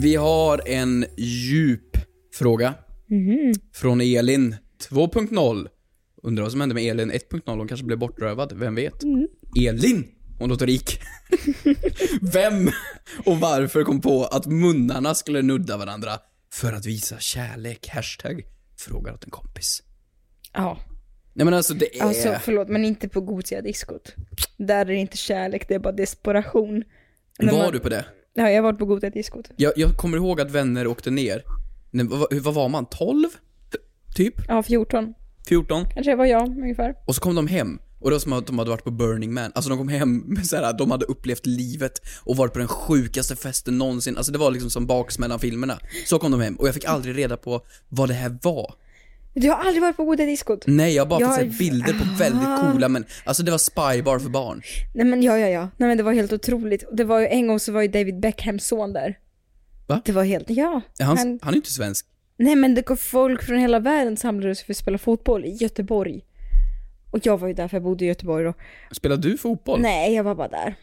Speaker 5: Vi har en djup fråga
Speaker 4: Mhm.
Speaker 5: från Elin 2.0. Undrar vad som hände med Elin 1.0, hon kanske blev bortrövad, vem vet?
Speaker 4: Mm.
Speaker 5: Elin! Hon låter rik. vem och varför kom på att munnarna skulle nudda varandra för att visa kärlek? Hashtag frågar åt en kompis.
Speaker 4: Ja.
Speaker 5: Nej men alltså det är...
Speaker 4: Alltså förlåt, men inte på gotiga diskot. Där är det inte kärlek, det är bara desperation.
Speaker 5: var
Speaker 4: När man-
Speaker 5: du på det?
Speaker 4: Ja, jag har varit på gotiga diskot.
Speaker 5: Jag, jag kommer ihåg att vänner åkte ner. Nej, vad, vad var man? 12? Typ?
Speaker 4: Ja, 14.
Speaker 5: 14?
Speaker 4: Kanske var jag ungefär.
Speaker 5: Och så kom de hem. Och det var som att de hade varit på Burning Man. Alltså de kom hem med så här, de hade upplevt livet och varit på den sjukaste festen någonsin. Alltså det var liksom som baksmällan filmerna. Så kom de hem och jag fick aldrig reda på vad det här var.
Speaker 4: Du har aldrig varit på gotiga diskot?
Speaker 5: Nej, jag har bara fått
Speaker 4: Jag-
Speaker 5: se bilder på väldigt
Speaker 4: Ah.
Speaker 5: coola men alltså det var spybar för barn.
Speaker 4: Nej men ja, ja, ja. Nej men det var helt otroligt. Och Det var ju, en gång så var ju David Beckhams son där.
Speaker 5: Va?
Speaker 4: Det var helt, ja.
Speaker 5: Är Han, han är ju inte svensk.
Speaker 4: Nej men det kom folk från hela världen samlades för att spela fotboll i Göteborg. Och jag var ju där för jag bodde i Göteborg då.
Speaker 5: Spelar du fotboll?
Speaker 4: Nej, jag var bara där.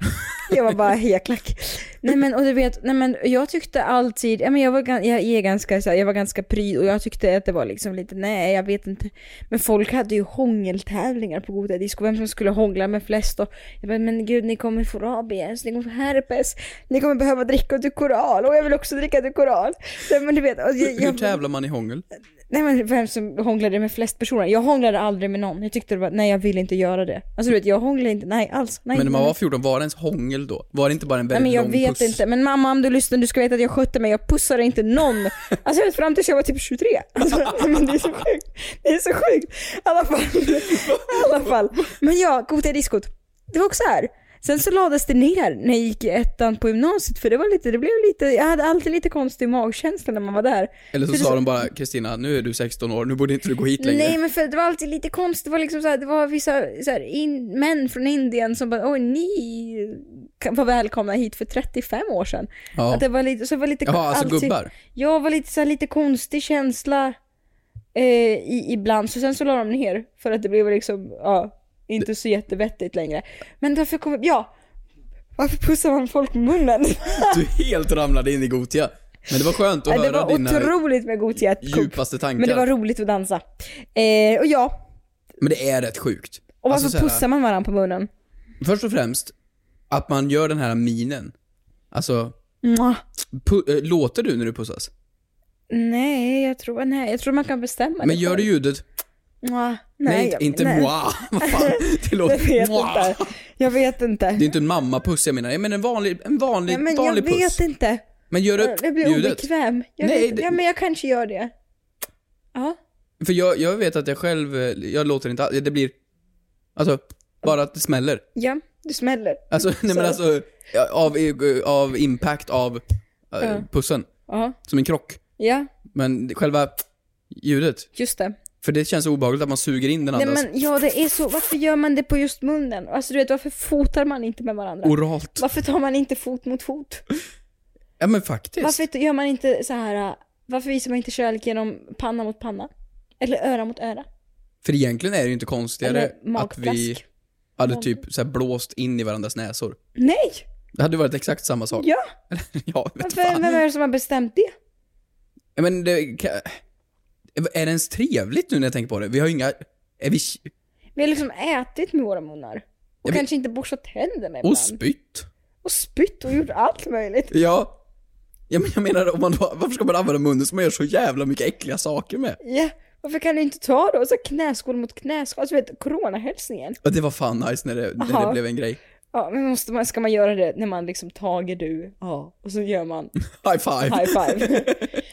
Speaker 4: Jag var bara hejaklack. Nej men och du vet, nej men jag tyckte alltid, ja, men jag var, gan- jag är ganska så här, jag var ganska pryd och jag tyckte att det var liksom lite, nej jag vet inte. Men folk hade ju hångeltävlingar på goda disco, vem som skulle hångla med flest och jag bara, men gud ni kommer få rabies, ni kommer få herpes, ni kommer behöva dricka du koral och jag vill också dricka du koral. Nej men du vet, och jag,
Speaker 5: Hur, hur
Speaker 4: jag,
Speaker 5: tävlar man i hångel?
Speaker 4: nej men vem som hånglade med flest personer. Jag hånglade aldrig med någon, jag tyckte det var, nej jag vill inte göra det. Alltså du vet, jag hånglade inte, nej alls. Nej,
Speaker 5: men när man
Speaker 4: nej.
Speaker 5: var 14, var det ens hångel då? Var det inte bara en
Speaker 4: Nej
Speaker 5: väldigt
Speaker 4: men jag
Speaker 5: lång
Speaker 4: vet
Speaker 5: puss?
Speaker 4: inte, men mamma om du lyssnar du ska veta att jag skötte mig, jag pussade inte någon. Alltså jag vet, fram tills jag var typ 23. Alltså, nej, men det är så sjukt. Det är så sjukt. I alla fall. I alla fall. Men ja, gotiga diskot. Det var också här. Sen så lades det ner när jag gick i ettan på gymnasiet för det var lite, det blev lite, jag hade alltid lite konstig magkänsla när man var där.
Speaker 5: Eller så
Speaker 4: För det
Speaker 5: sa de bara 'Kristina, nu är du 16 år, nu borde inte du gå hit längre'
Speaker 4: Nej men för det var alltid lite konstigt, det var liksom så här, det var vissa så här, in, män från Indien som bara oj ni kan- var välkomna hit för 35 år sedan.
Speaker 5: Ja.
Speaker 4: Att det var lite, så det var lite
Speaker 5: Jaha, alltså gubbar?
Speaker 4: Jag var lite så här, lite konstig känsla eh, i, ibland, så sen så la de ner för att det blev liksom, ja, inte så jättevettigt längre. Men varför kommer, ja, varför pussar man folk med munnen?
Speaker 5: Du helt ramlade in i Gotia. Men det var skönt att
Speaker 4: det
Speaker 5: höra
Speaker 4: var
Speaker 5: dina
Speaker 4: otroligt med god hjärt-
Speaker 5: djupaste tankar.
Speaker 4: men det var roligt att dansa. Eh, och ja,
Speaker 5: Men det är rätt sjukt.
Speaker 4: och varför
Speaker 5: Alltså så här,
Speaker 4: pussar man varandra på munnen?
Speaker 5: Först och främst, att man gör den här minen. Alltså,
Speaker 4: Mwah.
Speaker 5: pu- eh, låter du när du pussas?
Speaker 4: Nej, jag tror, nej, jag tror man kan bestämma
Speaker 5: Men gör du ljudet
Speaker 4: Mwah.
Speaker 5: Nej,
Speaker 4: Nej,
Speaker 5: inte-
Speaker 4: jag-
Speaker 5: inte moi. Vad fan, det låter
Speaker 4: jag vet
Speaker 5: moi.
Speaker 4: inte. Jag vet inte.
Speaker 5: Det är inte en mammapuss jag menar, jag menar en vanlig, en vanlig,
Speaker 4: Nej, men jag
Speaker 5: vanlig puss.
Speaker 4: vet inte.
Speaker 5: Men gör upp
Speaker 4: Jag blir
Speaker 5: ljudet.
Speaker 4: obekväm. Jag
Speaker 5: Nej,
Speaker 4: vet,
Speaker 5: det-
Speaker 4: Ja, men jag kanske gör det. Ja.
Speaker 5: För jag, jag vet att jag själv, eh, jag låter inte all- det blir, alltså, Bara att det smäller.
Speaker 4: Ja, det smäller.
Speaker 5: Alltså, nej men
Speaker 4: Mm. Så-
Speaker 5: alltså, av, av impact av eh,
Speaker 4: Ja.
Speaker 5: pussen.
Speaker 4: Ja.
Speaker 5: Som en krock.
Speaker 4: Ja,
Speaker 5: Men själva ljudet.
Speaker 4: just det.
Speaker 5: För det känns obehagligt att man suger in den
Speaker 4: Nej
Speaker 5: andras
Speaker 4: men ja, det är så. Varför gör man det på just munnen? Alltså du vet, varför fotar man inte med varandra?
Speaker 5: oralt.
Speaker 4: Varför tar man inte fot mot fot?
Speaker 5: Ja men faktiskt.
Speaker 4: Varför gör man inte så här? äh, Varför visar man inte kärlek genom panna mot panna? Eller öra mot öra?
Speaker 5: För egentligen är det ju inte konstigare
Speaker 4: Eller
Speaker 5: att vi
Speaker 4: magplask.
Speaker 5: hade typ så här blåst in i varandras näsor.
Speaker 4: Nej!
Speaker 5: Det hade varit exakt samma sak.
Speaker 4: Ja!
Speaker 5: ja vet
Speaker 4: Varför, vem är det som har bestämt det?
Speaker 5: Ja, Men det, kan- är det ens trevligt nu när jag tänker på det? Vi har ju inga... Är vi...
Speaker 4: Vi har liksom ätit med våra munnar. Och
Speaker 5: Ja, vi-
Speaker 4: kanske inte borstat tänderna ibland.
Speaker 5: Och spytt.
Speaker 4: och spytt och gjort allt möjligt.
Speaker 5: Ja. ja men jag menar, om man då, varför ska man använda munnen som man gör så jävla mycket äckliga saker med?
Speaker 4: Ja, varför kan du inte ta då? Så här knäskål mot knäskål, alltså vet coronahälsningen.
Speaker 5: Ja, Det var fan nice när det, när det
Speaker 4: Jaha.
Speaker 5: blev en grej.
Speaker 4: Ja, men måste man, ska man göra det när man liksom tager du? Ja. Och så gör man
Speaker 5: High five.
Speaker 4: high five.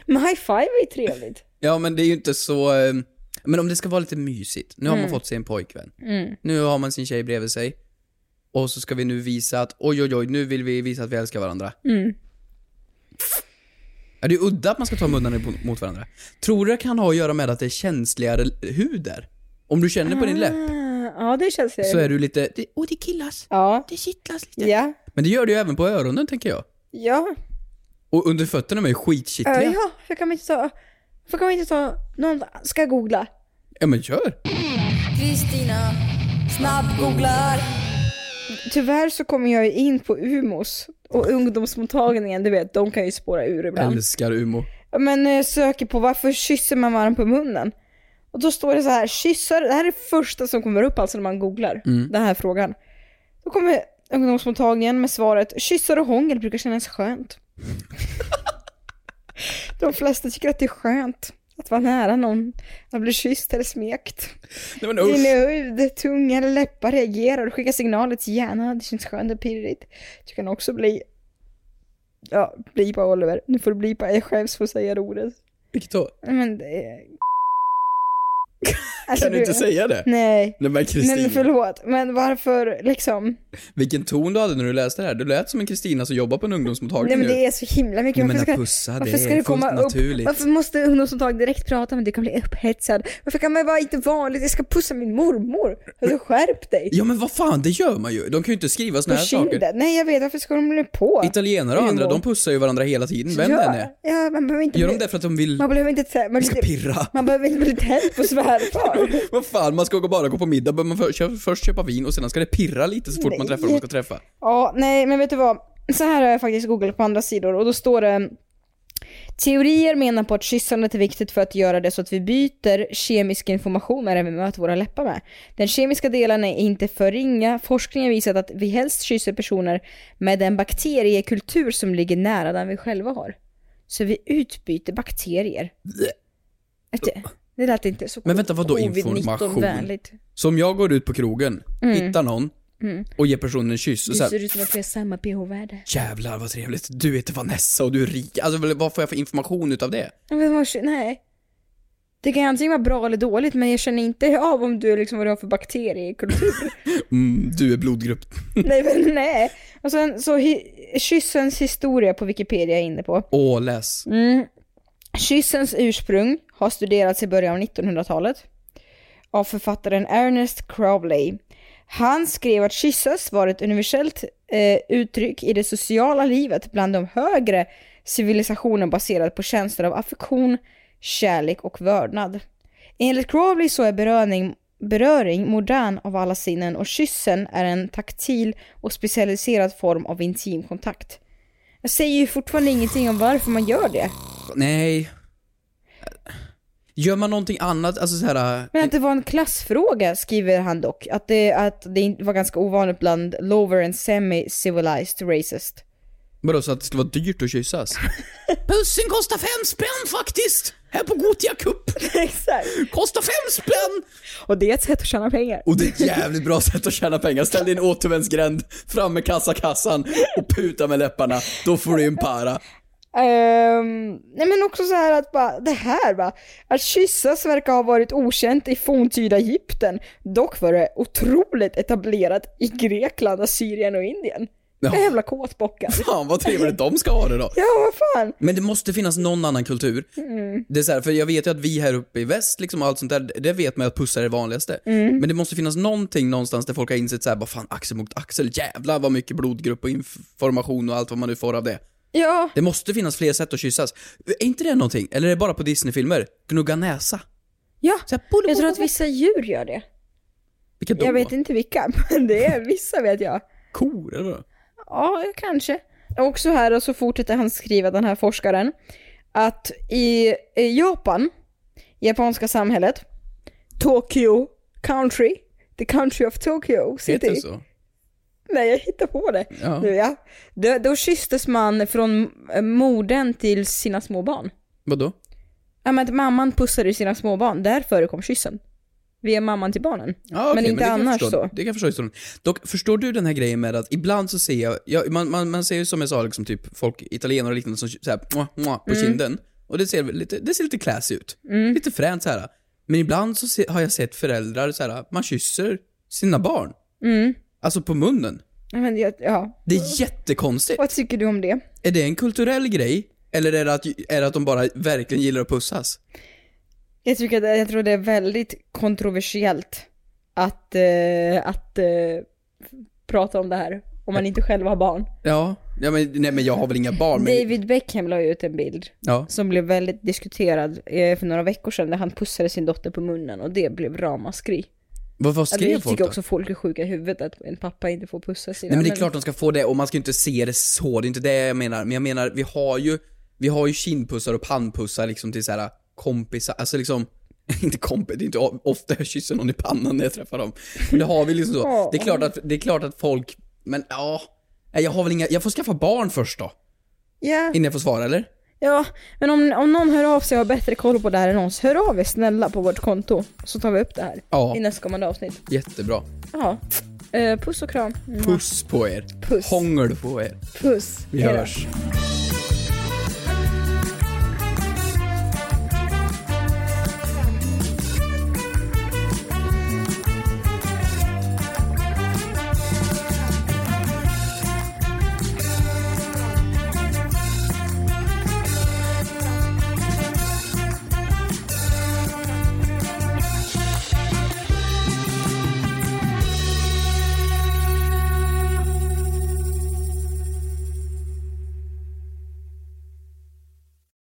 Speaker 4: men high five är ju trevligt.
Speaker 5: Ja men det är ju inte så... eh, Men om det ska vara lite mysigt. Nu har man
Speaker 4: Mm.
Speaker 5: fått sig en pojkvän.
Speaker 4: Mm.
Speaker 5: Nu har man sin tjej bredvid sig. Och så ska vi nu visa att oj oj oj, nu vill vi visa att vi älskar varandra.
Speaker 4: Mm.
Speaker 5: Ja, det är ju udda att man ska ta munnarna på- mot varandra. Tror du det kan ha att göra med att det är känsligare hud där? Om du känner på din läpp
Speaker 4: Ah, Ja, det känns det.
Speaker 5: så är du lite... det-
Speaker 4: Och det killas. Ja. Det kittlas lite. Ja.
Speaker 5: Men det gör det ju även på öronen tänker jag.
Speaker 4: Ja.
Speaker 5: Och under fötterna är ju
Speaker 4: Ja,
Speaker 5: skitkittliga.
Speaker 4: ja. För kan man inte ta... För kan man inte ta... Någon ska jag googla.
Speaker 5: Ja men kör!
Speaker 4: Kristina snabbgooglar. Tyvärr så kommer jag ju in på Umos och ungdomsmottagningen, du vet, de kan ju spåra ur ibland.
Speaker 5: Älskar Umo.
Speaker 4: Men eh, söker på varför kysser man varandra på munnen? Och då står det så här, kyssar, det här är det första som kommer upp alltså när man googlar
Speaker 5: Mm.
Speaker 4: den här frågan. Då kommer ungdomsmottagningen med svaret, kyssar och hångel brukar kännas skönt. De flesta tycker att det är skönt att vara nära någon, att bli kysst eller smekt.
Speaker 5: Nej men
Speaker 4: Din
Speaker 5: usch!
Speaker 4: hud, tunga eller läppar reagerar och skickar signaler till hjärnan. Det känns skönt och pirrigt. Du kan också bli... Ja, blipa Oliver. Nu får du blipa. Jag skäms för att säga det ordet.
Speaker 5: Vilket då?
Speaker 4: Nej, Men det är... Alltså,
Speaker 5: Kan du inte säga det?
Speaker 4: Nej.
Speaker 5: Nej men
Speaker 4: Men
Speaker 5: Kristina,
Speaker 4: förlåt, men varför liksom?
Speaker 5: vilken ton du hade när du läste det här. Du lät som en Kristina som jobbar på en
Speaker 4: Nej
Speaker 5: ungdomsmottagning
Speaker 4: men
Speaker 5: nu.
Speaker 4: det är så himla mycket.
Speaker 5: Nej, men
Speaker 4: varför
Speaker 5: att pussa, det
Speaker 4: varför
Speaker 5: är
Speaker 4: ska det komma
Speaker 5: fullt
Speaker 4: upp?
Speaker 5: naturligt.
Speaker 4: Varför måste ungdomsmottagningen direkt prata med dig? Du kan bli upphetsad. Varför kan man vara inte vanligt? Jag ska pussa min mormor. Alltså skärp dig.
Speaker 5: Ja men vad fan, det gör man ju. De kan ju inte skriva
Speaker 4: På
Speaker 5: såna här saker.
Speaker 4: kinden? Nej jag vet, varför ska de hålla på?
Speaker 5: Italienare och andra,
Speaker 4: Jo.
Speaker 5: de pussar ju varandra hela tiden, vem
Speaker 4: ja,
Speaker 5: den är.
Speaker 4: Ja, man behöver inte
Speaker 5: Gör de
Speaker 4: bli-
Speaker 5: det för att de vill...
Speaker 4: Man behöver inte, tä- man,
Speaker 5: ska
Speaker 4: inte-
Speaker 5: pirra.
Speaker 4: man behöver inte bli tänd på svärfar.
Speaker 5: Vad fan, man ska gå- bara gå på middag, behöver man för, kö, först köpa vin och sedan ska det pirra lite så fort man
Speaker 4: Nej.
Speaker 5: träffar dem man ska träffa.
Speaker 4: Ja, nej, men vet du vad? Så här har jag faktiskt googlat på andra sidor och då står det Teorier menar på att kyssandet är viktigt för att göra det så att vi byter kemisk information med den vi möter våra läppar med. Den kemiska delen är inte för ringa. Forskningen visat att vi helst kysser personer med den bakteriekultur som ligger nära den vi själva har. Så vi utbyter bakterier. Vet du, Det lät inte så
Speaker 5: Men vänta, vadå information?
Speaker 4: covid-19-vänligt.
Speaker 5: Så om jag går ut på krogen,
Speaker 4: Mm.
Speaker 5: hittar någon
Speaker 4: Mm.
Speaker 5: och ger personen en kyss
Speaker 4: Du
Speaker 5: och så här,
Speaker 4: ser ut som att vi har samma pH-värde.
Speaker 5: Jävlar vad trevligt, du heter Vanessa och du är rik. Alltså väl, vad får jag för information utav det?
Speaker 4: Ja, Men vars, nej. Det kan antingen vara bra eller dåligt men jag känner inte av om du är liksom vad du har för bakteriekultur.
Speaker 5: Mm, du är blodgrupp.
Speaker 4: nej men nej. Och sen så hi- kyssens historia på Wikipedia är jag inne på.
Speaker 5: Åh, läs.
Speaker 4: Mm. Kyssens ursprung har studerats i början av 1900-talet av författaren Ernest Crowley. Han skrev att kyssas var ett universellt eh, uttryck i det sociala livet bland de högre civilisationer baserat på känslor av affektion, kärlek och vördnad. Enligt Crowley så är beröring, beröring modern av alla sinnen och kyssen är en taktil och specialiserad form av intim kontakt. Jag säger ju fortfarande ingenting om varför man gör det.
Speaker 5: Nej. Gör man någonting annat, alltså så här.
Speaker 4: Men att det var en klassfråga skriver han dock. Att det, att det inte var ganska ovanligt bland lower and semi-civilized racist.
Speaker 5: Vadå, så att det skulle vara dyrt att kyssas?
Speaker 1: Pussen kostar fem spänn faktiskt! Här på Gotia Cup!
Speaker 4: Exakt!
Speaker 1: Kostar fem spänn!
Speaker 4: Och det är ett sätt att tjäna pengar.
Speaker 5: Och det är ett jävligt bra sätt att tjäna pengar. Ställ din återvändsgränd, fram med kassakassan och puta med läpparna. Då får du en para.
Speaker 4: Ehm, nej men också så här att bara, det här va. Att kyssas verkar ha varit okänt i forntida Egypten. Dock var det otroligt etablerat i Grekland, Assyrien och Indien.
Speaker 5: Ja.
Speaker 4: Jävla kåtbockar.
Speaker 5: Eh, Fan vad trevligt de ska ha det då.
Speaker 4: Ja, vad fan.
Speaker 5: Men det måste finnas någon annan kultur.
Speaker 4: Mm.
Speaker 5: Det är så här, för jag vet ju att vi här uppe i väst liksom och allt sånt där, det vet man ju att pussar är det vanligaste.
Speaker 4: Mm.
Speaker 5: Men det måste finnas någonting någonstans där folk har insett så här, bara fan axel mot axel, jävlar vad mycket blodgrupp och information och allt vad man nu får av det.
Speaker 4: Ja,
Speaker 5: Det måste finnas fler sätt att kyssas. Är inte det någonting? Eller är det bara på Disneyfilmer? Gnugga näsa?
Speaker 4: ja. jag tror att vissa djur gör det.
Speaker 5: Vilka då?
Speaker 4: Jag vet inte vilka, men det är vissa vet jag.
Speaker 5: Kor eller vad?
Speaker 4: Ja, kanske. Och så här och så fortsätter han skriva, den här forskaren, att i eh, Japan, japanska samhället, Tokyo country, the country of Tokyo city.
Speaker 5: Heter det så?
Speaker 4: Nej, jag hittar på det.
Speaker 5: Ja.
Speaker 4: Nu, ja. Då, då kysstes man från eh, modern till sina små barn.
Speaker 5: Vadå?
Speaker 4: Ja, men att mamman pussade sina små barn, där förekom kyssen. Via mamman till barnen.
Speaker 5: Ja, okej,
Speaker 4: men inte
Speaker 5: det kan jag
Speaker 4: annars
Speaker 5: förstå.
Speaker 4: så.
Speaker 5: Det kan jag förstå historien. Dock, förstår du den här grejen med att ibland så ser jag, ja, man, man, man ser ju som jag sa liksom typ folk, italienare och liknande som såhär, mwah, mwah, på
Speaker 4: Mm.
Speaker 5: kinden. Och det ser väl lite, det ser lite classy ut.
Speaker 4: Mm.
Speaker 5: Lite fränt så här. Men ibland så se, har jag sett föräldrar så här, man kysser sina barn.
Speaker 4: Mm.
Speaker 5: Alltså på munnen.
Speaker 4: Ja, Men, jag- ja.
Speaker 5: Det är jättekonstigt.
Speaker 4: Vad tycker du om det?
Speaker 5: Är det en kulturell grej? Eller är det att, är det att de bara verkligen gillar att pussas?
Speaker 4: Jag, tycker att, jag tror det är väldigt kontroversiellt att, eh, att eh, prata om det här om man inte själv har barn.
Speaker 5: Ja, ja men, nej men jag har väl inga barn, men...
Speaker 4: David Beckham la ju ut en bild
Speaker 5: Ja.
Speaker 4: som blev väldigt diskuterad eh, för några veckor sedan där han pussade sin dotter på munnen och det blev ramaskri.
Speaker 5: Vad, vad
Speaker 4: Alltså,
Speaker 5: skrev
Speaker 4: jag
Speaker 5: folk
Speaker 4: tycker
Speaker 5: då?
Speaker 4: också folk är sjuka i huvudet att en pappa inte får pussa sina
Speaker 5: Nej men det är klart de ska få det och man ska ju inte se det så, det är inte det jag menar. Men jag menar, vi har ju, vi har ju kindpussar och pannpussar liksom till såhär kompisar, alltså liksom inte kompis, det är inte o- ofta jag kysser någon i pannan när jag träffar dem. Men det har vi liksom så. Det är klart att, det är klart att folk, men ja. Nej, Jag har väl inga, jag får skaffa barn först då.
Speaker 4: Ja.
Speaker 5: Innan jag får svara eller?
Speaker 4: Ja, men om, om någon hör av sig och har bättre koll på det här än oss, hör av er snälla på vårt konto så tar vi upp det här
Speaker 5: Ja.
Speaker 4: i nästkommande avsnitt.
Speaker 5: Jättebra.
Speaker 4: Ja. Eh, puss och kram.
Speaker 5: Puss på er.
Speaker 4: Puss.
Speaker 5: Hångel på er.
Speaker 4: Puss.
Speaker 5: Vi
Speaker 4: Hej då.
Speaker 5: hörs.